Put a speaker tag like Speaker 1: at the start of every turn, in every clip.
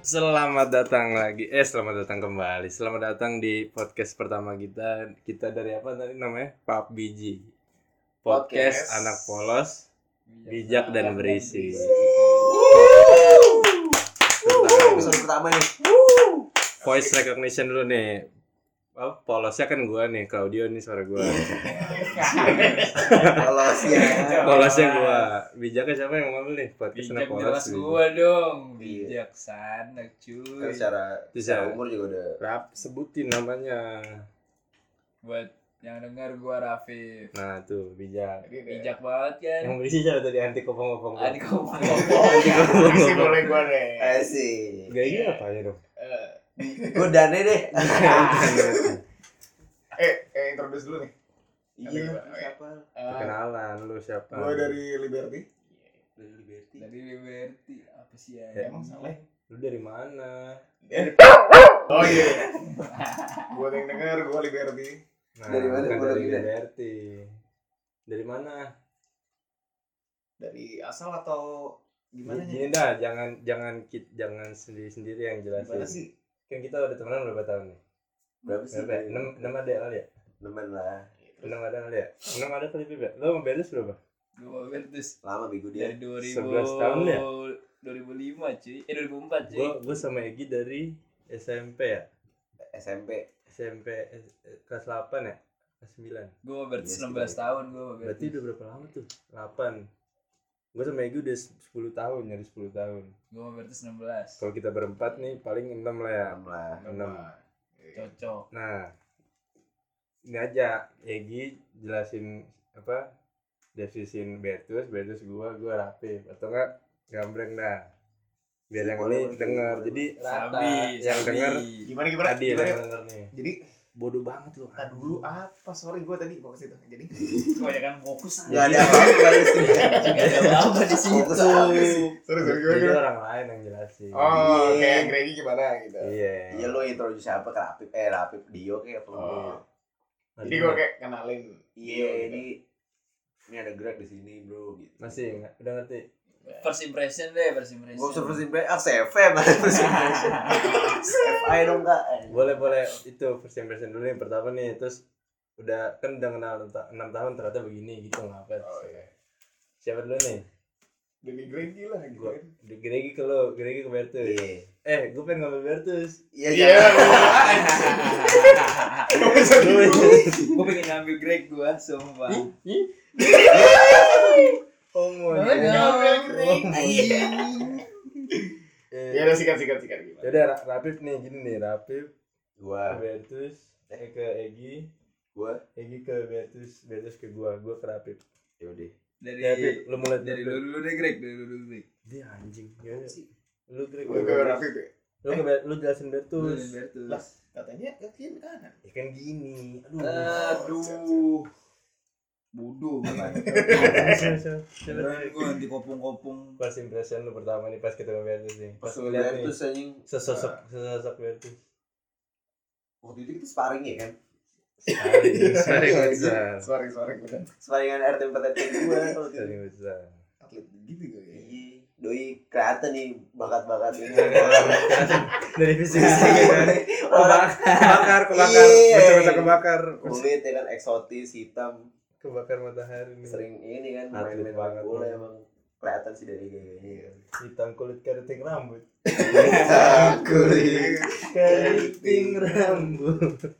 Speaker 1: Selamat datang lagi. Eh, selamat datang kembali. Selamat datang di podcast pertama kita. Kita dari apa tadi namanya? Pap Biji. Podcast,
Speaker 2: Podcast.
Speaker 1: anak polos, bijak dan berisi.
Speaker 2: Episode pertama nih.
Speaker 1: Voice recognition dulu nih. Apa, polosnya kan gua nih, Claudio nih suara gua.
Speaker 2: Kalau
Speaker 3: Iya.
Speaker 2: siang.
Speaker 1: Polosnya gua. Bijaknya siapa yang ngambil nih? Podcast anak
Speaker 3: Bijak
Speaker 1: polos.
Speaker 3: jelas
Speaker 1: Bijak.
Speaker 3: gua dong.
Speaker 2: Iya.
Speaker 3: Bijaksana cuy.
Speaker 2: kan Secara
Speaker 1: Bisa.
Speaker 2: secara umur juga udah
Speaker 1: Rap, sebutin namanya.
Speaker 3: Buat yang dengar gua Rafif.
Speaker 1: Nah, tuh bijak.
Speaker 3: Bijak banget kan.
Speaker 1: Yang berisi siapa tadi anti kopong-kopong.
Speaker 3: Adik kau
Speaker 4: Kasih boleh gue deh.
Speaker 2: Eh sih.
Speaker 1: Gaya apa ya dong?
Speaker 4: Eh,
Speaker 2: Gue dane deh.
Speaker 4: Eh, eh introduce dulu nih.
Speaker 2: Iya. Siapa?
Speaker 1: Perkenalan lu siapa?
Speaker 4: Gue dari Liberty.
Speaker 2: Dari Liberty.
Speaker 3: Dari Liberty apa sih ya?
Speaker 4: Emang salah.
Speaker 1: Lu dari mana?
Speaker 4: Iya. Oh iya. Buat yang denger, gue Liberty.
Speaker 1: Nah,
Speaker 2: Dari mana?
Speaker 1: bukan dari
Speaker 2: Gua dari mana?
Speaker 1: Liberty. Dari mana?
Speaker 4: Dari asal atau gimana
Speaker 1: Gini-
Speaker 2: Iya,
Speaker 4: nih?
Speaker 1: Gini dah, jangan jangan kit- jangan sendiri sendiri yang jelasin.
Speaker 4: Gimana sih?
Speaker 1: Kan kita udah temenan berapa tahun nih?
Speaker 2: Berapa sih?
Speaker 1: Berapa? ya? Enam enam ada kali ya?
Speaker 2: Temen lah.
Speaker 1: Enam ada kali ya? Enam ada kali Beb, ya? Lu sama Berlus berapa?
Speaker 3: Gua Bertus
Speaker 2: Lama bego dia.
Speaker 3: dari 2000
Speaker 1: 11 tahun ya?
Speaker 3: 2005 cuy. Eh 2004 cuy.
Speaker 1: Gua gua sama Egi dari SMP ya?
Speaker 2: SMP.
Speaker 1: SMP S- eh, kelas 8 ya? Kelas 9.
Speaker 3: Gua Bertus
Speaker 2: Yes,
Speaker 3: 16
Speaker 2: iya.
Speaker 3: tahun gua
Speaker 1: Berarti
Speaker 3: Bertus.
Speaker 1: udah berapa lama tuh? 8. Gua sama Egi udah 10 tahun, nyari 10 tahun.
Speaker 3: Gua Bertus 16.
Speaker 1: Kalau kita berempat nih paling 6 lah ya.
Speaker 2: Lama lah.
Speaker 1: Enam.
Speaker 3: Cocok.
Speaker 1: Nah, ini aja Egi jelasin apa defisiin Bertus, Bertus gua, gua Rafif atau enggak gambreng dah. Biar yang
Speaker 2: Boleh,
Speaker 1: ini
Speaker 2: boleh,
Speaker 1: denger.
Speaker 2: boleh.
Speaker 1: Jadi rata
Speaker 3: Sabi,
Speaker 1: yang
Speaker 3: sabi.
Speaker 1: denger
Speaker 4: Gimana gimana?
Speaker 1: tadi yang
Speaker 4: gimana?
Speaker 1: denger nih.
Speaker 4: Jadi,
Speaker 1: Bodoh banget lu.
Speaker 4: nah dulu apa? Sorry gue tadi fokus itu. Jadi,
Speaker 3: kebanyakan fokus
Speaker 2: Gak ada apa-apa di sini.
Speaker 3: Gak ada apa-apa di situ.
Speaker 2: Fokus apa sih?
Speaker 4: sorry sorry gimana?
Speaker 1: Jadi
Speaker 4: gimana?
Speaker 1: orang lain yang jelasin.
Speaker 4: Oh,
Speaker 2: Iya.
Speaker 4: kayak Greggy gimana gitu.
Speaker 2: Iya
Speaker 1: Iya.
Speaker 2: lo introduce siapa ke Rapip? Eh Rapip Dio kayak apa?
Speaker 4: Oh.
Speaker 1: Masih-
Speaker 4: Jadi gue kayak kenalin.
Speaker 2: Iya ini ini ada Greg di sini bro. Gitu.
Speaker 1: masih nggak- udah ngerti.
Speaker 3: First impression deh, first impression.
Speaker 2: Gue bisa first impression, ah CFM first impression FI dong kak
Speaker 1: Boleh boleh itu first impression dulu nih pertama nih terus udah kan udah kenal 6 tahun ternyata begini gitu ngapain.
Speaker 4: Oh iya.
Speaker 1: Siapa dulu nih?
Speaker 4: Dari Greggy lah gitu.
Speaker 1: Gua- Geregi ke lo, geregi ke Bertus. Eh, gue pengen ngambil Bertus.
Speaker 2: Iya
Speaker 4: Iya. Gua bisa
Speaker 2: Iya.
Speaker 4: gitu.
Speaker 3: gue pengen ngambil Greg gue, sumpah.
Speaker 1: Homo.
Speaker 3: Oh, iya.
Speaker 1: ya.
Speaker 4: Ngambil Greg. Ya
Speaker 1: Eh,
Speaker 4: udah iya. sikat sikat sikat gimana?
Speaker 1: Yaudah, Ra- Rapif nih, gini nih, Rapif ke
Speaker 2: Gua
Speaker 1: Bertus, eh ke Egi,
Speaker 2: Gua
Speaker 1: Egi ke Bertus, Bertus ke gua, gua ke Rapif.
Speaker 2: Yaudah
Speaker 3: Dari
Speaker 1: Ya, Pip, lu mulai
Speaker 3: dari lu dulu deh Greg, dari lu dulu Greg.
Speaker 1: Dia anjing. Yaudah. Lu ke
Speaker 4: Gue ke Raffi deh.
Speaker 1: Lu ke Ber- lu jelasin
Speaker 3: Lu
Speaker 1: Bertus.
Speaker 3: dan Bertus.
Speaker 4: Lah. Katanya kaki kanan.
Speaker 1: Ya kan gini. Aduh.
Speaker 3: Aduh. Bodoh banget.
Speaker 1: Siapa- siapa- siapa
Speaker 3: Beneran
Speaker 1: tadi?
Speaker 3: gue nanti kopung-kopung.
Speaker 1: First impression lu pertama nih pas kita ke Bertus nih. Pas
Speaker 2: Pas
Speaker 1: ngeliat
Speaker 2: ngeliat
Speaker 1: nih
Speaker 2: terus anjing
Speaker 1: sesosok sesosok Bertus.
Speaker 2: Waktu itu kita sparring ya kan
Speaker 1: Sorry,
Speaker 4: Sorry, sorry, sorry, bukan
Speaker 2: Sparringan RT4 RT2
Speaker 1: Sorry, besar.
Speaker 4: atlet gitu gue ya.
Speaker 2: Iya Doi kelihatan nih bakat-bakat ini
Speaker 1: dari fisik kan
Speaker 2: Orang
Speaker 1: kebakar kebakar
Speaker 2: Iya.
Speaker 1: mata kebakar
Speaker 2: kulit ya kan eksotis hitam
Speaker 1: kebakar matahari nih
Speaker 2: Sering ini kan
Speaker 1: Hmm. Atlet
Speaker 2: main-main
Speaker 1: banget.
Speaker 2: banget bola emang kelihatan sih dari gayanya
Speaker 1: hitam kulit keriting rambut
Speaker 2: Kulit
Speaker 1: keriting rambut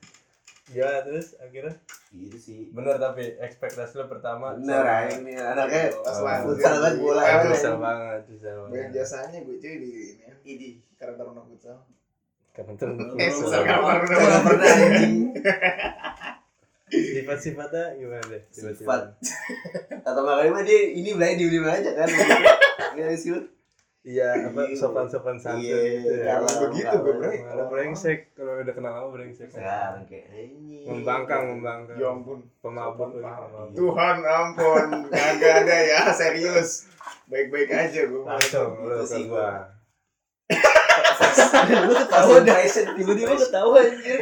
Speaker 1: ya terus akhirnya
Speaker 2: Gitu sih
Speaker 1: bener tapi ekspektasi lo pertama
Speaker 2: Bener
Speaker 1: sama-
Speaker 2: aja ini anaknya
Speaker 4: Pas
Speaker 1: Oh,
Speaker 4: langsung
Speaker 2: futsal
Speaker 4: kan
Speaker 2: kan bola
Speaker 4: Iya,
Speaker 1: Ah,
Speaker 2: kan.
Speaker 1: susah banget susah
Speaker 4: Banyak
Speaker 1: banget
Speaker 4: jasanya gue cuy di ini ya.
Speaker 2: ini
Speaker 4: Karena taruna futsal.
Speaker 1: karena terlalu
Speaker 4: Eh, susah
Speaker 2: Belum.
Speaker 4: karena
Speaker 2: Belum
Speaker 4: taruna.
Speaker 2: pernah anjing
Speaker 1: sifat-sifatnya gimana deh
Speaker 2: sifat kata makanya mah dia ini belanya dibeli aja kan Iya sih lu
Speaker 1: iya apa sopan-sopan santun
Speaker 2: Iya,
Speaker 1: gitu ya
Speaker 2: kalau-
Speaker 4: Kalau begitu gue
Speaker 2: kalau-
Speaker 4: break.
Speaker 1: Malah brengsek kalau udah kenal sama brengsek
Speaker 2: sekarang kayak anjing
Speaker 1: membangkang membangkang
Speaker 4: Ya ampun.
Speaker 1: pemabuk lagi,
Speaker 4: Paham.
Speaker 1: pemabuk.
Speaker 4: Tuhan ampun, kagak ada ya, serius. Baik-baik aja gue.
Speaker 1: langsung lu
Speaker 2: Gitu
Speaker 1: ke
Speaker 2: sih,
Speaker 1: gua
Speaker 2: lu ketawa udah tiba-tiba
Speaker 3: Tiba-tiba ketawa anjir.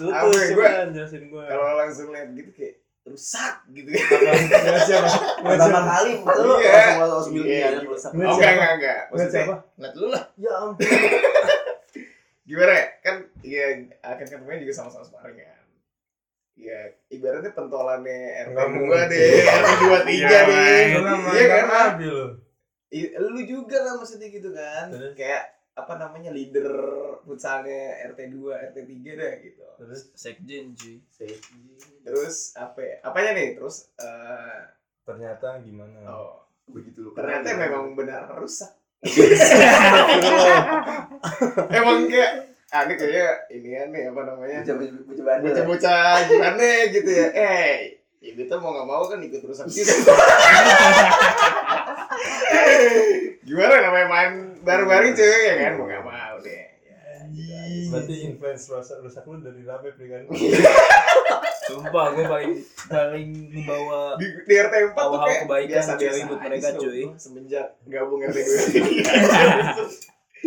Speaker 1: lu
Speaker 4: Apa
Speaker 1: tuh
Speaker 4: ya,
Speaker 1: sih
Speaker 4: gua?
Speaker 1: kan jelasin gua
Speaker 4: Kalau langsung lihat gitu kayak rusak gitu ya.
Speaker 1: Ngeliat siapa Ngeliat
Speaker 2: pertama
Speaker 1: siapa?
Speaker 2: kali muka
Speaker 4: Iya.
Speaker 2: lu langsung langsung bilang
Speaker 4: Iya.
Speaker 2: iya anak rusak
Speaker 1: Ngeliat
Speaker 4: Oh, enggak, enggak, enggak.
Speaker 1: Ngeliat
Speaker 4: Maksudnya,
Speaker 1: siapa
Speaker 4: lihat dulu lah.
Speaker 1: ya ampun
Speaker 4: gimana ya kan ya akan ketemunya juga sama-sama sparring kan ya ibaratnya pentolannya RT
Speaker 1: Nggak
Speaker 4: dua
Speaker 1: mungkin.
Speaker 4: deh RT dua tiga
Speaker 1: Iya,
Speaker 4: deh
Speaker 1: main.
Speaker 4: iya kan Ram?
Speaker 1: Abi lu.
Speaker 4: I- Iya, lu juga lah maksudnya gitu kan
Speaker 1: Terus?
Speaker 4: kayak apa namanya leader futsalnya RT 2 RT 3 deh gitu
Speaker 1: Terus
Speaker 3: sekjen cuy
Speaker 2: "Iya."
Speaker 4: terus apa ya? apanya nih terus eh,
Speaker 1: ternyata gimana?
Speaker 4: oh
Speaker 2: begitu lu
Speaker 4: ternyata
Speaker 2: kenal,
Speaker 4: memang benar rusak emang kayak ah ini kayaknya ini kan nih apa namanya
Speaker 2: bocah bocah
Speaker 1: Iya.
Speaker 2: bandel
Speaker 4: bocah-bocah gimana gitu ya eh ibu tuh mau nggak mau kan ikut rusak situ gimana namanya main bareng-bareng cuy ya kan mau nggak mau deh ya, gitu aja
Speaker 3: iya.
Speaker 4: sih.
Speaker 1: Berarti influence rusak, rusak lu dari Rabe Pri, kan?
Speaker 3: sumpah gue paling paling membawa
Speaker 4: di, di RT 4 tuh
Speaker 3: Hal-hal
Speaker 4: kayak
Speaker 3: kebaikan
Speaker 4: biasa-biasa
Speaker 3: cuy, buat
Speaker 4: aja
Speaker 3: mereka,
Speaker 4: sih,
Speaker 3: cuy.
Speaker 4: semenjak gabung RT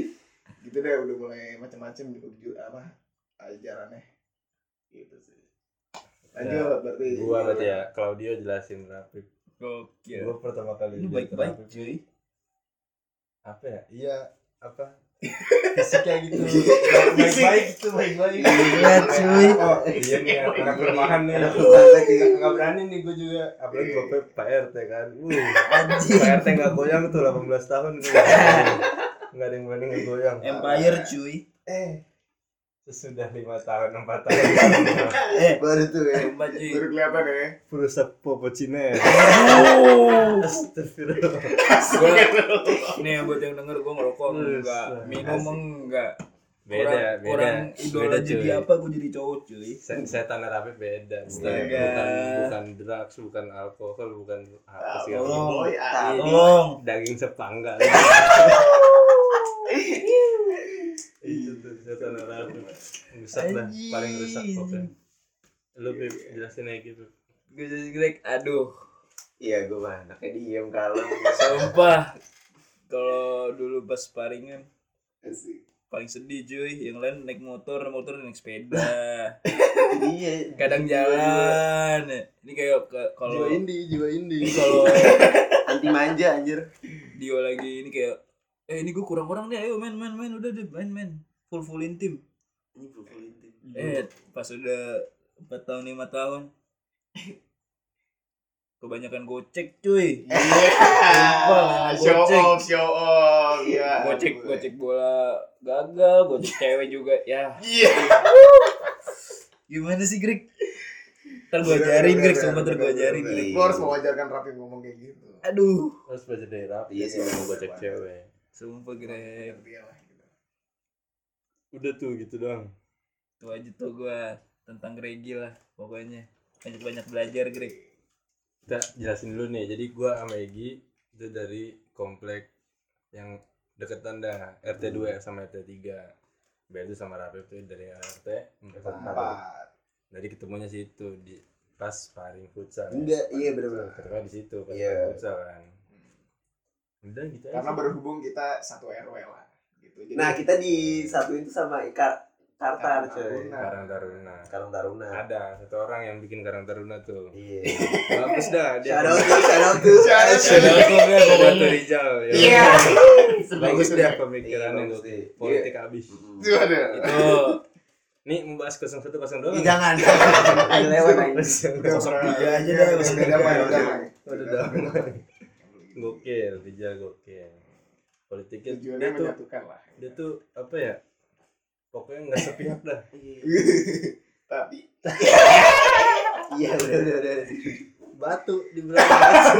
Speaker 4: 2 gitu deh udah mulai macam-macam ju- apa ajarannya gitu sih lanjut berarti
Speaker 1: Iya. Gua berarti ya Claudio jelasin Rabe.
Speaker 3: gokil
Speaker 1: Gua pertama kali
Speaker 3: Iya.
Speaker 1: lihat
Speaker 3: lu baik-baik
Speaker 1: Rabe.
Speaker 3: cuy
Speaker 1: Apa ya? Iya, apa? Fisiknya gitu. Baik-baik itu, baik-baik.
Speaker 2: Iya, cuy.
Speaker 1: Oh, iya nih anak kelemahan nih.
Speaker 2: Anak kelemahan nih.
Speaker 1: Enggak berani nih gua juga. Apalagi gua Pak RT kan. Uh, Pak RT enggak goyang tuh 18 tahun gua. Enggak ada yang berani ngegoyang.
Speaker 3: empire cuy
Speaker 1: Eh. Sesudah 5 tahun, 4 tahun.
Speaker 2: eh baru tuh ya
Speaker 3: sumpah cuy
Speaker 4: baru kelihatan ya
Speaker 1: Perusak popocine. Astagfirullah.
Speaker 3: Gua- nih buat yang denger gue ngerokok enggak
Speaker 1: Terus,
Speaker 3: minum enggak
Speaker 1: Beda,
Speaker 3: kurang,
Speaker 1: beda.
Speaker 3: kurang idola
Speaker 1: Beda,
Speaker 3: jadi
Speaker 1: cuy.
Speaker 3: apa gue jadi cowok cuy
Speaker 1: Se- setan dan rapi beda bukan,
Speaker 3: Astaga.
Speaker 1: bukan bukan drugs bukan alkohol bukan apa sih
Speaker 3: Tolong.
Speaker 4: boy ah.
Speaker 3: tolong
Speaker 1: daging sepanggal
Speaker 2: Iya.
Speaker 1: itu tuh setan dan rapi rusak lah paling rusak
Speaker 3: Anjing.
Speaker 1: pokoknya lu Pip, jelasin aja gitu
Speaker 3: gue jadi Greg aduh
Speaker 2: iya gue mah anaknya diem kalem
Speaker 3: sumpah kalau dulu pas paringan
Speaker 4: Asik.
Speaker 3: paling sedih cuy yang lain naik motor motor naik sepeda
Speaker 2: iya
Speaker 3: kadang jalan ini kayak ke- kalau
Speaker 2: indie jiwa indie
Speaker 3: ini kalau
Speaker 2: anti manja anjir
Speaker 3: dia lagi ini kayak eh ini gue kurang-kurang nih ayo main main main udah deh main main full fullin tim
Speaker 2: ini buku intim
Speaker 3: Eh, pas udah 4 tahun 5 tahun. Kebanyakan gocek, cuy.
Speaker 4: Iya,
Speaker 3: Sumpah,
Speaker 4: show
Speaker 3: gocek.
Speaker 4: off, show off, iya.
Speaker 3: Gocek, gocek bola gagal, gocek cewek juga. Ya,
Speaker 4: Iya.
Speaker 3: gimana sih, Greg? Ntar
Speaker 2: Iya,
Speaker 3: gua ajarin, Greg. Sumpah ntar gua ajarin, Greg.
Speaker 4: Gua harus mewajarkan Rapi ngomong kayak gitu.
Speaker 3: Aduh.
Speaker 1: harus belajar dari rapi
Speaker 2: Iya
Speaker 1: iya
Speaker 2: sih,
Speaker 1: sih mau
Speaker 4: bener
Speaker 1: gocek
Speaker 4: banget.
Speaker 1: cewek
Speaker 3: Sumpah, Greg.
Speaker 4: Iya lah, gitu.
Speaker 1: udah tuh gitu doang
Speaker 3: Itu aja tuh gua tentang Gregi lah pokoknya. Banyak-banyak belajar, Greg.
Speaker 1: kita jelasin dulu nih jadi gua sama Egi itu dari komplek yang deketan dah RT 2
Speaker 2: Hmm.
Speaker 1: sama RT 3 Berarti sama Rapi itu dari RT 4
Speaker 4: Empat.
Speaker 1: dari ketemunya situ di pas paring futsal
Speaker 2: enggak iya bener-bener
Speaker 1: ketemu di situ pas
Speaker 2: Iya.
Speaker 1: paring futsal kan udah gitu aja
Speaker 4: Karena
Speaker 1: sih.
Speaker 4: berhubung kita satu RW lah. Gitu. Jadi,
Speaker 2: nah kita disatuin tuh sama ikar tartar cuy
Speaker 1: Karang Taruna
Speaker 2: karang taruna
Speaker 1: ada satu orang yang bikin Karang Taruna tuh
Speaker 2: iya
Speaker 1: bagus dah dia
Speaker 2: shout out tuh
Speaker 4: Shout out to-
Speaker 2: shout out tuh
Speaker 1: Ada tuh dia ada Batu Rizal ya.
Speaker 2: iya
Speaker 1: bagus
Speaker 4: Sebagus
Speaker 1: dah
Speaker 4: deh.
Speaker 1: pemikirannya
Speaker 2: Iya, bagus
Speaker 1: tuh
Speaker 2: deh.
Speaker 1: politik abis
Speaker 2: Mm-mm.
Speaker 4: Gimana?
Speaker 3: Itu
Speaker 1: Nih membahas 01
Speaker 3: gitu.
Speaker 1: 02.
Speaker 2: Ih, jangan Ada Iya, lewat
Speaker 4: Iya.
Speaker 2: anjing.
Speaker 1: Gokil,
Speaker 4: Udah,
Speaker 3: tiga
Speaker 4: udah, udah,
Speaker 3: aja
Speaker 4: udah,
Speaker 3: deh,
Speaker 4: udah,
Speaker 3: udah,
Speaker 4: damai,
Speaker 1: udah,
Speaker 4: udah damai.
Speaker 1: udah
Speaker 4: damai.
Speaker 1: Rijal gokil. Politiknya
Speaker 4: Tujuannya
Speaker 1: dia tuh
Speaker 4: menyatukan lah.
Speaker 1: dia tuh apa ya? Pokoknya nggak sepihak dah.
Speaker 4: Tapi
Speaker 2: iya udah udah udah
Speaker 1: Batu di belakang.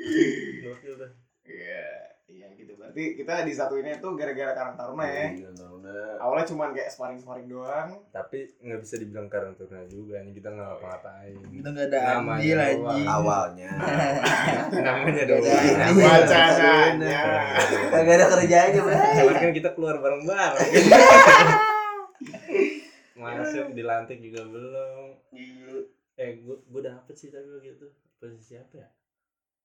Speaker 1: Gokil dah.
Speaker 4: iya, iya gitu. Berarti kita disatuinnya tuh gara-gara Karang Taruna ya.
Speaker 2: Karang Iya, Taruna.
Speaker 4: Awalnya cuman kayak sparring-sparring doang.
Speaker 1: Tapi nggak bisa dibilang karena turna juga nih kita nggak ngapa-ngapain.
Speaker 3: kita enggak ada
Speaker 1: Namanya
Speaker 3: andil
Speaker 2: ya,
Speaker 1: doang.
Speaker 3: anjing.
Speaker 2: awalnya
Speaker 1: Namanya
Speaker 2: Iya.
Speaker 1: doang.
Speaker 4: Wacananya.
Speaker 2: kagak ada kerjaannya bray
Speaker 1: Cuman kan kita keluar bareng-bareng. Masuk dilantik juga belum. eh gue gue dapet sih tapi waktu itu posisi apa ya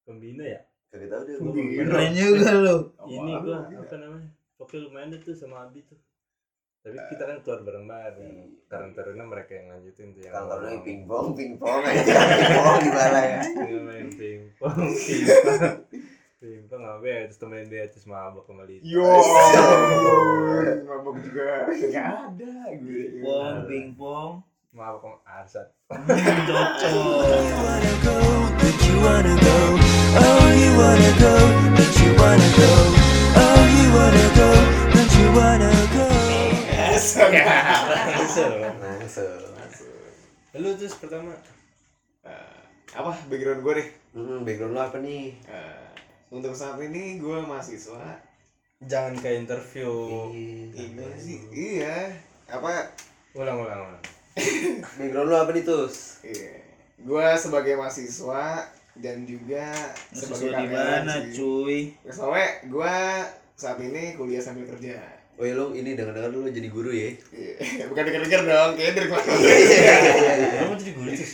Speaker 1: pembina ya
Speaker 2: kagak tahu deh
Speaker 4: Pembina. Oh,
Speaker 3: Keren juga lu.
Speaker 1: ini
Speaker 4: Apaan
Speaker 1: gue
Speaker 4: lagi?
Speaker 1: apa namanya pokoknya lumayan deh tuh sama Abi tuh tapi kita kan keluar bareng bareng karena taruna mereka yang lanjutin tuh yang
Speaker 2: Ya, Kalau tahu lagi
Speaker 1: ngomong.
Speaker 2: pingpong, pingpong
Speaker 1: Iya,
Speaker 2: aja, pingpong di ya. balai.
Speaker 1: Nggak main pingpong pingpong pingpong AB ya terus temenin dia terus mabok kembali
Speaker 4: Yo, mabok juga. Gak ada gue.
Speaker 3: Pong, pingpong,
Speaker 1: mabok sama arsat
Speaker 3: Iya. hmm, cocok.
Speaker 2: Langsung.
Speaker 1: lu terus pertama
Speaker 4: Eh, apa background gue nih?
Speaker 2: Hmm, background lo apa nih?
Speaker 4: Eh, untuk saat ini gue mahasiswa.
Speaker 1: jangan ke interview
Speaker 2: Ih,
Speaker 4: Iya sih. Iya. Apa?
Speaker 1: ulang ulang ulang
Speaker 2: Background lo apa nih, Tus?
Speaker 4: Iya. Gue sebagai mahasiswa dan juga sebagai
Speaker 3: Sesuai di mana, cuy?
Speaker 4: Soalnya gue saat ini kuliah sambil kerja.
Speaker 2: Oh ya, lo ini dengar-dengar lo jadi guru ya?
Speaker 4: Iya. Bukan denger-denger dong, kayaknya dari
Speaker 3: Iya,
Speaker 4: kemarin.
Speaker 1: Iya, lu mau jadi guru terus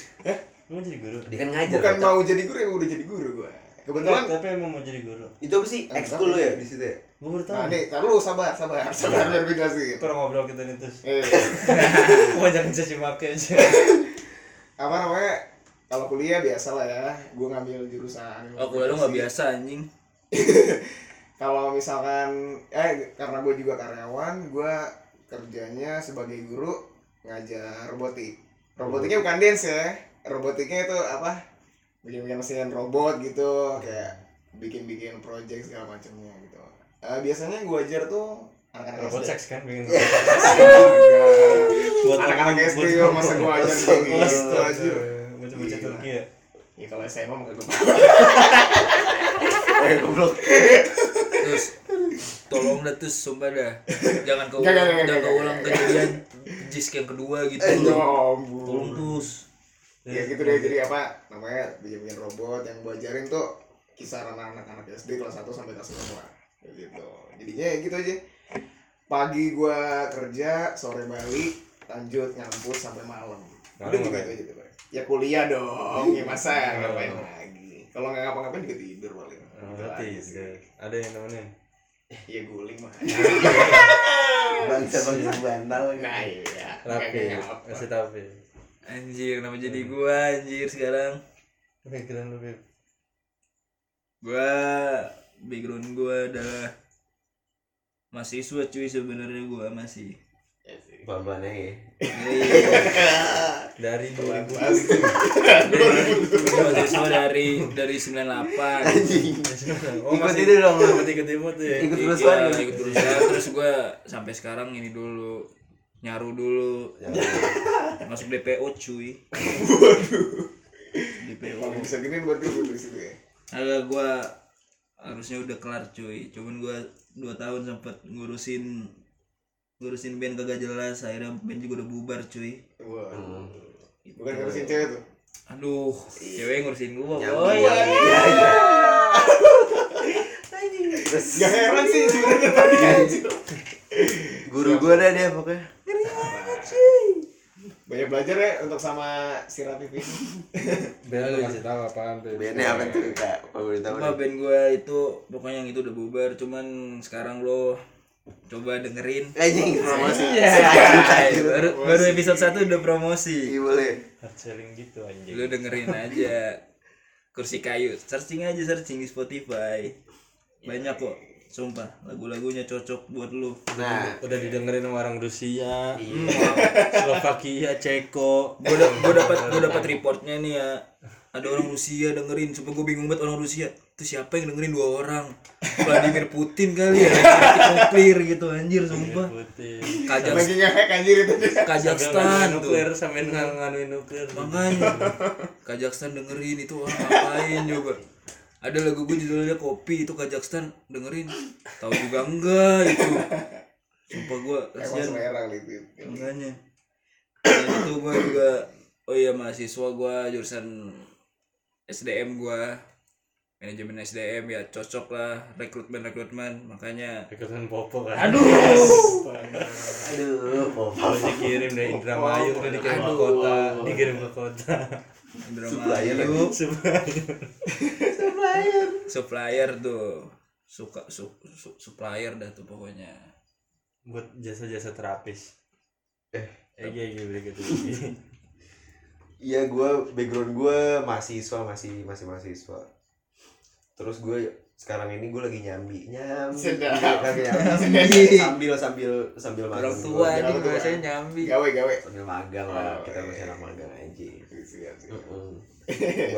Speaker 1: lu mau jadi guru
Speaker 2: Dia kan ngajar.
Speaker 4: Bukan
Speaker 2: kata.
Speaker 4: mau jadi guru, emang udah jadi guru gue. Kebetulan
Speaker 1: tapi emang mau jadi guru
Speaker 2: Itu apa sih? Ekskul lo ya di situ ya?
Speaker 1: gue baru tahu
Speaker 4: Nah, nih, ntar lu sabar, sabar,
Speaker 3: Iya.
Speaker 4: sabar biar gue jelasin.
Speaker 1: kurang ngobrol kita nih terus
Speaker 4: Eh,
Speaker 1: mau jangan caci maki aja
Speaker 4: apa namanya? Kalau kuliah biasa lah ya, gue ngambil jurusan.
Speaker 3: Oh, kuliah lu nggak biasa anjing.
Speaker 4: Kalau misalkan, eh karena gue juga karyawan, gue kerjanya sebagai guru ngajar robotik. Robotiknya bukan dance ya, robotiknya itu apa? Bikin-bikin mesin robot gitu, kayak bikin-bikin project segala macamnya gitu. Eh, biasanya gue ajar tuh anak-anak
Speaker 1: robot
Speaker 2: Iya.
Speaker 4: SD.
Speaker 1: seks kan pengen
Speaker 4: buat anak-anak SD gue masa gue ajar kayak gitu aja
Speaker 1: bocah-bocah Turki ya
Speaker 4: ya kalau SMA mah kagak
Speaker 2: Eh, goblok.
Speaker 3: Terus tolong dah terus sumpah dah. Jangan kau
Speaker 4: Nggak, nggak,
Speaker 3: jangan
Speaker 4: nggak, nggak,
Speaker 3: kau ulang
Speaker 4: nggak.
Speaker 3: kejadian jisk yang kedua gitu.
Speaker 4: eh
Speaker 3: Tolong,
Speaker 4: jomblo
Speaker 3: Tolong terus.
Speaker 4: ya gitu deh jadi apa namanya bikin-bikin robot yang gue ajarin tuh kisaran anak-anak SD kelas 1 sampai kelas 5 Kayak gitu jadinya ya gitu aja pagi gue kerja sore balik lanjut ngampus sampai malam udah
Speaker 1: Malam
Speaker 4: gitu
Speaker 1: ngapain?
Speaker 4: aja tuh ya kuliah dong ya masa ngapain lagi kalau nggak ngapa-ngapain juga tidur paling Gitu
Speaker 1: berarti
Speaker 4: aja sih.
Speaker 1: ada yang nemenin
Speaker 4: ya guling mah
Speaker 2: Bangsa bangsa bantal.
Speaker 4: nah iya
Speaker 1: rapi
Speaker 4: Nggak apa-apa.
Speaker 1: masih tapi
Speaker 3: Anjir, kenapa jadi gua anjir sekarang?
Speaker 1: pikiran lu Beb.
Speaker 3: Gua background gua adalah mahasiswa cuy sebenarnya gua masih.
Speaker 4: Ya sih.
Speaker 2: Pelan-pelan aja ya.
Speaker 3: Iya.
Speaker 1: dari 2000
Speaker 4: Mas.
Speaker 3: Gua mahasiswa dari dari 98.
Speaker 1: oh
Speaker 2: Ikut
Speaker 1: masih
Speaker 2: itu dong, lu.
Speaker 1: ikut ikut imut tuh ya
Speaker 2: Ikut
Speaker 3: Iya,
Speaker 2: terus kan?
Speaker 3: ikut berusaha terus gue sampai sekarang ini dulu nyaru dulu masuk DPO cuy DPO
Speaker 4: Paling bisa gini buat gue dari situ ya.
Speaker 3: agak gue harusnya udah kelar cuy cuman gue dua tahun sempet ngurusin ngurusin band kagak jelas akhirnya band juga udah bubar cuy Gitu.
Speaker 4: Wah. Hmm. Bukan ngurusin cewek tuh.
Speaker 3: aduh cewek ngurusin gue
Speaker 2: Nyambung.
Speaker 3: boy
Speaker 2: Iya, Terus
Speaker 4: Gak heran sih sebenarnya tadi anjir.
Speaker 2: Iya. guru gue dah dia pokoknya.
Speaker 4: Banyak belajar ya untuk sama si Ratif
Speaker 2: Iya.
Speaker 4: ini.
Speaker 1: biar lu kasih tahu apaan tuh
Speaker 2: Bandnya Nah, apa tuh? Kak, apa boleh tahu?
Speaker 3: Cuma band gue itu pokoknya yang itu udah bubar cuman sekarang lo coba dengerin
Speaker 2: Anjing promosi.
Speaker 3: Iya, baru, baru episode 1 udah promosi.
Speaker 2: Iya boleh.
Speaker 1: hard selling gitu anjing
Speaker 3: Lu dengerin aja kursi kayu. Searching aja searching di Spotify. Banyak kok. Sumpah, lagu-lagunya cocok buat lu.
Speaker 2: Nah,
Speaker 1: udah didengerin sama orang Rusia Slovakia Ceko
Speaker 3: Gua da- gua dapat gua dapat reportnya nih ya. Ada orang Rusia dengerin, sumpah gua bingung banget orang Rusia. Itu siapa yang dengerin dua orang? Vladimir Putin kali ya. Nuklir gitu anjir sumpah.
Speaker 1: putih
Speaker 3: Kajak
Speaker 4: Lagi ngehek anjir itu dia.
Speaker 1: Sambil nganuin
Speaker 3: Kazakhstan tuh.
Speaker 1: nuklir sambil ngan- nganuin nuklir
Speaker 3: Makanya Kazakhstan dengerin itu orang ngapain coba Ada lagu gue judulnya Kopi itu Kazakhstan dengerin Tahu juga enggak itu Sumpah gue
Speaker 4: Emang
Speaker 3: kasihan
Speaker 4: selera kali itu.
Speaker 3: Makanya Dan itu gue juga Oh iya mahasiswa gue jurusan SDM gue Manajemen SDM ya cocok lah Rekrutmen-rekrutmen makanya
Speaker 1: ikutan popo kan aduh
Speaker 2: aduh,
Speaker 1: Lu dikirim dari Indramayu, lu dikirim ke kota, dikirim ke kota.
Speaker 3: Indramayu
Speaker 1: Sebenarnya
Speaker 3: Supplier tuh suka su- su- supplier dah tuh pokoknya
Speaker 1: buat jasa-jasa terapis.
Speaker 2: Eh.
Speaker 1: Ege ege beli gitu.
Speaker 2: Iya, gue background gue mahasiswa masih masih mahasiswa. Terus gue sekarang ini gue lagi nyambi nyambi
Speaker 4: Sedap.
Speaker 2: lagi nyambi
Speaker 4: Sedap.
Speaker 2: sambil sambil sambil
Speaker 3: orang
Speaker 2: magang
Speaker 3: tua
Speaker 4: Orang
Speaker 3: ini
Speaker 4: tua. Ya.
Speaker 3: biasanya nyambi
Speaker 4: gawe gawe
Speaker 2: sambil magang lah
Speaker 4: Oh,
Speaker 2: kita masih
Speaker 4: iya.
Speaker 2: anak magang aja Nah,
Speaker 4: Siap, siap.
Speaker 2: Mm-mm.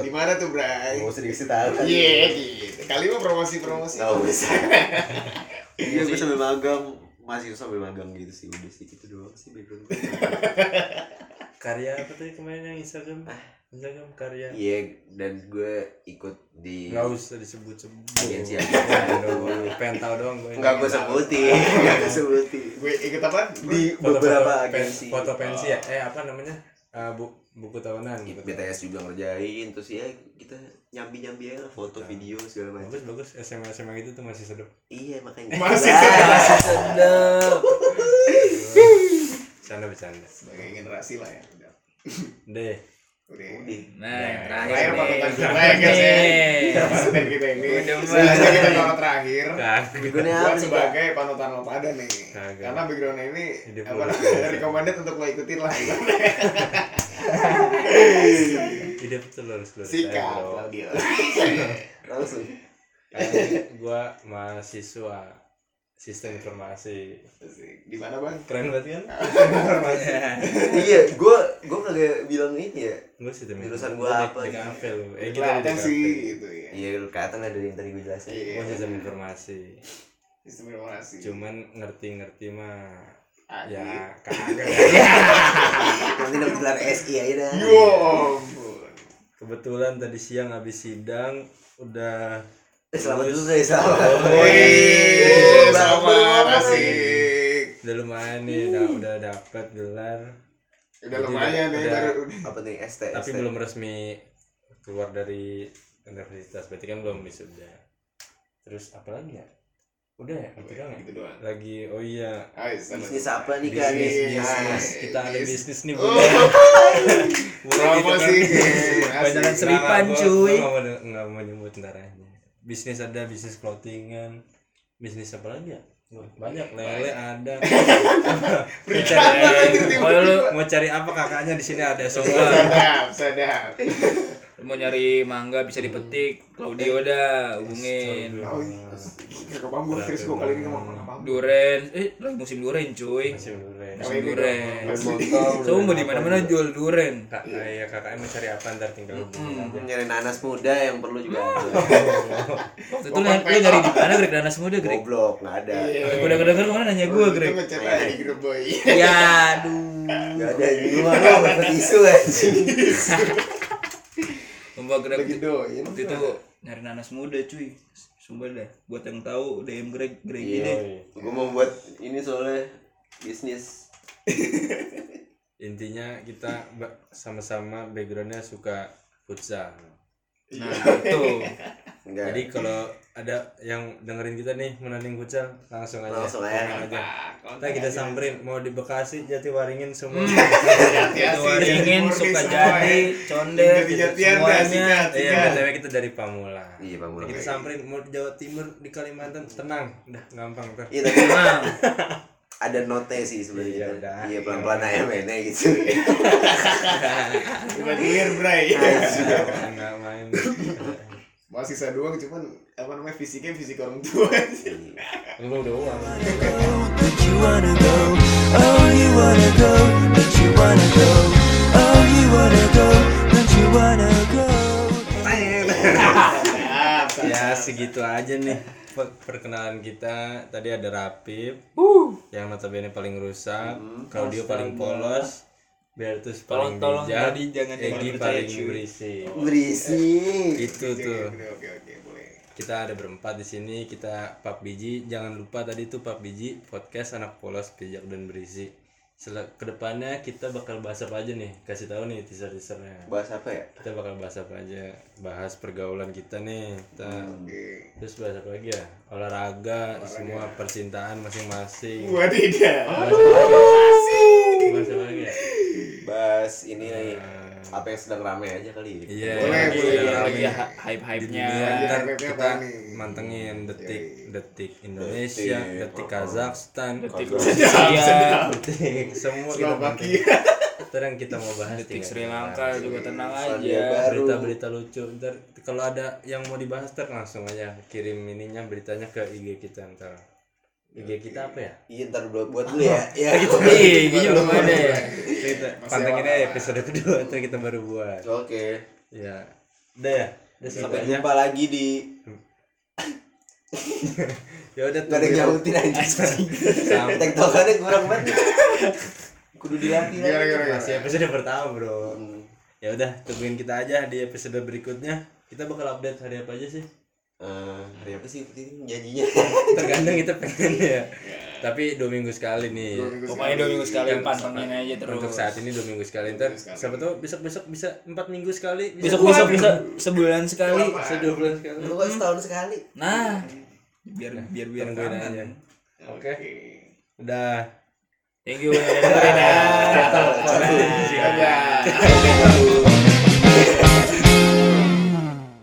Speaker 4: di mana tuh Bray
Speaker 2: Gak usah dikasih tahu
Speaker 4: iya gitu kali mah promosi promosi
Speaker 2: Gak usah Iya
Speaker 3: Iya
Speaker 2: gue
Speaker 3: sih.
Speaker 2: sambil magang Masih sambil magang gitu sih Udah sih gitu doang sih background gue.
Speaker 1: Karya apa tadi kemarin yang Instagram? Instagram karya.
Speaker 2: Iya dan gue ikut di
Speaker 1: Enggak usah disebut-sebut.
Speaker 2: Agensi aja.
Speaker 1: Aduh, pengen tahu doang gue.
Speaker 2: Nggak gue sebutin Nggak gue sebutin
Speaker 4: gue ikut apa
Speaker 2: Di
Speaker 1: Foto-foto
Speaker 2: beberapa
Speaker 1: pen-
Speaker 2: agensi
Speaker 1: Foto pensi ya? Eh apa namanya? Eh, bu- buku tahunan. gitu.
Speaker 2: Di
Speaker 1: buku tahunan.
Speaker 2: BTS juga ngerjain Terus ya kita nyambi-nyambi aja lah Foto,
Speaker 4: Nah.
Speaker 2: video segala macam
Speaker 1: Bagus bagus SMA SMA gitu tuh masih sedep.
Speaker 2: Iya makanya
Speaker 4: Masih
Speaker 2: Nah,
Speaker 4: sedap.
Speaker 2: masih sedap
Speaker 1: Bercanda bercanda.
Speaker 4: sebagai generasi lah ya udah
Speaker 1: Deh.
Speaker 4: udah
Speaker 2: Udah.
Speaker 3: nah
Speaker 1: Nah,
Speaker 3: yang
Speaker 4: terakhir
Speaker 3: terakhir
Speaker 4: Ya, pakai
Speaker 3: nih.
Speaker 4: terakhir guys ya
Speaker 3: Nih.
Speaker 4: Pasukan kita ini
Speaker 3: Udah
Speaker 4: selanjutnya
Speaker 3: mulai.
Speaker 4: kita ke terakhir
Speaker 2: Gue
Speaker 1: Kagak.
Speaker 2: nih apa
Speaker 4: buat
Speaker 2: sih, Kak?
Speaker 4: sebagai panutan lo pada nih
Speaker 1: Kagak.
Speaker 4: karena backgroundnya ini
Speaker 1: Ini Iya.
Speaker 4: apa
Speaker 1: bagus.
Speaker 4: namanya recommended untuk lo ikutin lah
Speaker 1: Ide betul harus lurus.
Speaker 4: sikat
Speaker 1: aja, bro.
Speaker 4: Claudio
Speaker 2: Langsung
Speaker 1: Karena gue mahasiswa sistem informasi.
Speaker 4: di mana bang
Speaker 1: Keren banget kan? Sistem informasi.
Speaker 2: Iya gue Gue kagak bilang ini ya
Speaker 1: Gue sistem informasi.
Speaker 2: Jurusan gua
Speaker 1: Gua di-
Speaker 2: apa gitu?
Speaker 1: Di
Speaker 2: nih?
Speaker 1: kafe lu. Eh kita di
Speaker 4: kelihatan
Speaker 1: kafe.
Speaker 4: sih gitu ya
Speaker 2: Iya lu kelihatan lah dari yang tadi gue jelasin
Speaker 4: Iya.
Speaker 1: Gua sistem informasi.
Speaker 4: sistem informasi
Speaker 1: Cuman ngerti-ngerti mah
Speaker 4: Adi.
Speaker 1: ya kagak.
Speaker 2: Nanti dapat gelar SI aja dah
Speaker 4: yo ampun
Speaker 1: Kebetulan tadi siang habis sidang udah
Speaker 2: Eh, Selamat dulu deh selamat
Speaker 4: Wih,
Speaker 2: Baru
Speaker 4: sama
Speaker 2: banget.
Speaker 4: asik
Speaker 1: udah lumayan nih, udah udah dapat gelar
Speaker 4: udah
Speaker 1: Jadi
Speaker 4: lumayan nih
Speaker 1: udah-
Speaker 4: baru
Speaker 2: Apa nih ST
Speaker 1: tapi
Speaker 2: ST.
Speaker 1: belum resmi keluar dari universitas berarti kan belum wisuda terus apa lagi ya udah ya itu doang ya?
Speaker 4: gitu doang
Speaker 1: lagi oh iya
Speaker 4: Ayo, sama.
Speaker 2: Bisnis apa nih Kak?
Speaker 1: bisnis
Speaker 4: Bisnis.
Speaker 1: bisnis kita ada
Speaker 4: Bisnis.
Speaker 1: bisnis nih
Speaker 4: Oh.
Speaker 1: boleh Boleh gitu kan?
Speaker 4: Promosi, guys.
Speaker 1: Banyak kan
Speaker 4: Asik.
Speaker 3: seripan,
Speaker 1: Nggak, gua-
Speaker 3: cuy.
Speaker 1: gua nggak mau- nggak mau nyebut ntar aja bisnis ada bisnis clothingan bisnis apa lagi ya banyak lele ada mau cari ya.
Speaker 4: tiba-tiba.
Speaker 1: Oh, lu mau cari apa kakaknya di sini ada semua
Speaker 4: sedap sedap
Speaker 3: mau nyari mangga bisa dipetik Claudio
Speaker 4: Hmm.
Speaker 3: dah hubungin
Speaker 4: Oh, iya. Gak paham gue, Chris gue kali ini ngomong gak paham
Speaker 3: duren eh lagi musim duren cuy
Speaker 1: Masih belum
Speaker 4: Yang
Speaker 1: durian.
Speaker 3: Masih
Speaker 4: ini
Speaker 3: duren.
Speaker 4: dong.
Speaker 3: semua di mana mana jual duren
Speaker 1: Kak, iya kakaknya mau cari apa ntar tinggal hubungin aja.
Speaker 2: Nyari nanas muda yang perlu juga ada.
Speaker 3: waktu itu lu lu nyari di mana Greg Danas muda Greg
Speaker 2: Goblok, nggak ada
Speaker 4: Iya.
Speaker 3: aku udah kedenger kemana nanya gue
Speaker 4: Itu
Speaker 3: Greg
Speaker 4: ngecat aja di grup boy
Speaker 3: ya aduh
Speaker 2: Nggak ada di rumah lo dapat isu anjing
Speaker 3: Sumpah Greg
Speaker 4: lagi doyan
Speaker 3: waktu itu nyari nanas muda cuy Sumpah dah buat yang tahu DM Greg Greg
Speaker 4: Iya.
Speaker 3: ini
Speaker 2: Gue mau buat ini soalnya bisnis
Speaker 1: Intinya kita ba- sama-sama backgroundnya suka futsal.
Speaker 3: nah itu
Speaker 2: Enggak
Speaker 1: Jadi kalau ada yang dengerin kita nih menanding futsal langsung aja.
Speaker 2: Langsung aja.
Speaker 1: Komen aja.
Speaker 3: nah,
Speaker 1: Iya. Ntar kita samperin mau di Bekasi Jatiwaringin
Speaker 2: Hmm.
Speaker 1: semua.
Speaker 4: Hati-hati,
Speaker 3: Itu waringin
Speaker 4: jadi murni
Speaker 3: suka
Speaker 4: semua, ya.
Speaker 3: jadi
Speaker 4: Yang
Speaker 3: condet
Speaker 4: dari
Speaker 3: gitu,
Speaker 4: Jatian dah,
Speaker 3: semuanya
Speaker 4: sikat.
Speaker 1: Iya,
Speaker 4: Iya.
Speaker 1: btw kita dari Pamulang.
Speaker 2: Iya bang Bro.
Speaker 1: Kita samperin mau di Jawa Timur di Kalimantan tenang, udah gampang ntar.
Speaker 2: Iya tapi
Speaker 3: Nah,
Speaker 2: ada note sih
Speaker 1: Iya,
Speaker 2: sebenarnya
Speaker 1: udah.
Speaker 2: Iya pelan-pelan aja mainnya gitu
Speaker 4: Udah clear, Bray.
Speaker 1: Nggak main.
Speaker 4: Masih sisa doang cuman apa namanya fisiknya fisik orang tua aja.
Speaker 1: Lu udah uang.
Speaker 5: But Oh, you wanna go, oh you wanna go, but you wanna go, oh you wanna go, but you wanna go.
Speaker 4: Sedap, sedap.
Speaker 1: ya segitu aja nih pe- perkenalan kita tadi ada Rapip yang notabene paling rusak
Speaker 2: Hmm.
Speaker 1: Claudio paling polos Bertus paling
Speaker 3: Tolong-tolong
Speaker 1: bijak
Speaker 3: tadi jangan
Speaker 1: Egi
Speaker 3: dipercaya,
Speaker 1: paling
Speaker 3: cuy.
Speaker 1: berisik
Speaker 2: Berisi
Speaker 1: itu tuh
Speaker 4: Oke, oke, oke, boleh.
Speaker 1: kita ada berempat di sini kita pap biji jangan lupa tadi tuh pap biji podcast anak polos bijak dan berisi Sel- kedepannya kita bakal bahas apa aja nih kasih tahu nih teaser teasernya
Speaker 2: Bahas apa ya?
Speaker 1: kita bakal bahas apa aja bahas pergaulan kita nih kita
Speaker 4: Oke.
Speaker 1: Terus bahas apa lagi ya? Olahraga, semua percintaan masing-masing.
Speaker 4: Wadidaw.
Speaker 1: Oh. Bahas apa lagi ya?
Speaker 2: Bahas ini nih apa yang sedang rame aja kali ya?
Speaker 1: Iya.
Speaker 4: Boleh,
Speaker 1: lagi ya,
Speaker 4: boleh, boleh.
Speaker 1: lagi
Speaker 3: lagi
Speaker 1: ya.
Speaker 3: hype-hype-nya.
Speaker 1: Dunia, Iya, ntar
Speaker 4: Hype-nya
Speaker 1: kita
Speaker 4: apaan nih?
Speaker 1: mantengin detik-detik Indonesia,
Speaker 2: Detik.
Speaker 1: detik Kazakhstan,
Speaker 3: Detik
Speaker 2: Kalau-
Speaker 3: Rusia.
Speaker 1: detik semua kita mantengin.
Speaker 4: Slovakia.
Speaker 1: Ntar yang kita mau bahas
Speaker 3: Detik
Speaker 1: tinggal
Speaker 3: Sri
Speaker 1: kita
Speaker 3: Lanka
Speaker 1: bahas.
Speaker 3: juga tenang
Speaker 1: Iya,
Speaker 2: Selandia
Speaker 3: aja.
Speaker 2: Baru.
Speaker 1: Berita-berita lucu ntar kalau ada yang mau dibahas ntar langsung aja kirim ininya beritanya ke IG kita ntar. IG kita apa ya?
Speaker 2: Iya ntar buat buat dulu ya. Ya
Speaker 1: iya.
Speaker 2: gitu.
Speaker 3: Iya,
Speaker 1: Ih, IG belum ada ya. Kita
Speaker 4: Masih
Speaker 1: pantengin
Speaker 4: awal.
Speaker 1: aja episode kedua ntar kita baru buat.
Speaker 2: Oke.
Speaker 1: Ya. Udah ya. Udah
Speaker 2: Sampai
Speaker 1: semuanya.
Speaker 2: jumpa lagi di
Speaker 1: Ya udah
Speaker 2: Gak ada yang
Speaker 1: tungguin.
Speaker 2: nyautin aja
Speaker 1: Sampai-
Speaker 2: Tektokannya kurang banget Kudu dilatih
Speaker 4: Gimana,
Speaker 2: lagi.
Speaker 4: gimana,
Speaker 1: Masih episode pertama, Bro.
Speaker 2: Nah, Hmm.
Speaker 1: Ya udah, tungguin kita aja di episode berikutnya. Kita bakal update hari apa aja sih?
Speaker 2: Eh, hari apa sih ini janjinya?
Speaker 1: Tergantung kita pengen ya. Tapi dua minggu sekali nih.
Speaker 3: Iya. Pokoknya dua minggu sekali
Speaker 1: Yang
Speaker 3: pantengin aja terus.
Speaker 1: Iya, Untuk saat ini dua minggu sekali. Ntar siapa tahu besok-besok bisa empat minggu sekali.
Speaker 3: besok besok bisa sebulan sekali.
Speaker 1: bisa dua bulan sekali.
Speaker 2: Lu kan setahun sekali.
Speaker 3: Nah, biar biar biar
Speaker 1: Tungguin
Speaker 3: kangen.
Speaker 1: aja. Oke. Udah. Iya.
Speaker 3: Thank you udah dengerin ya.
Speaker 2: Setahun.
Speaker 4: Dadah.
Speaker 2: Baru.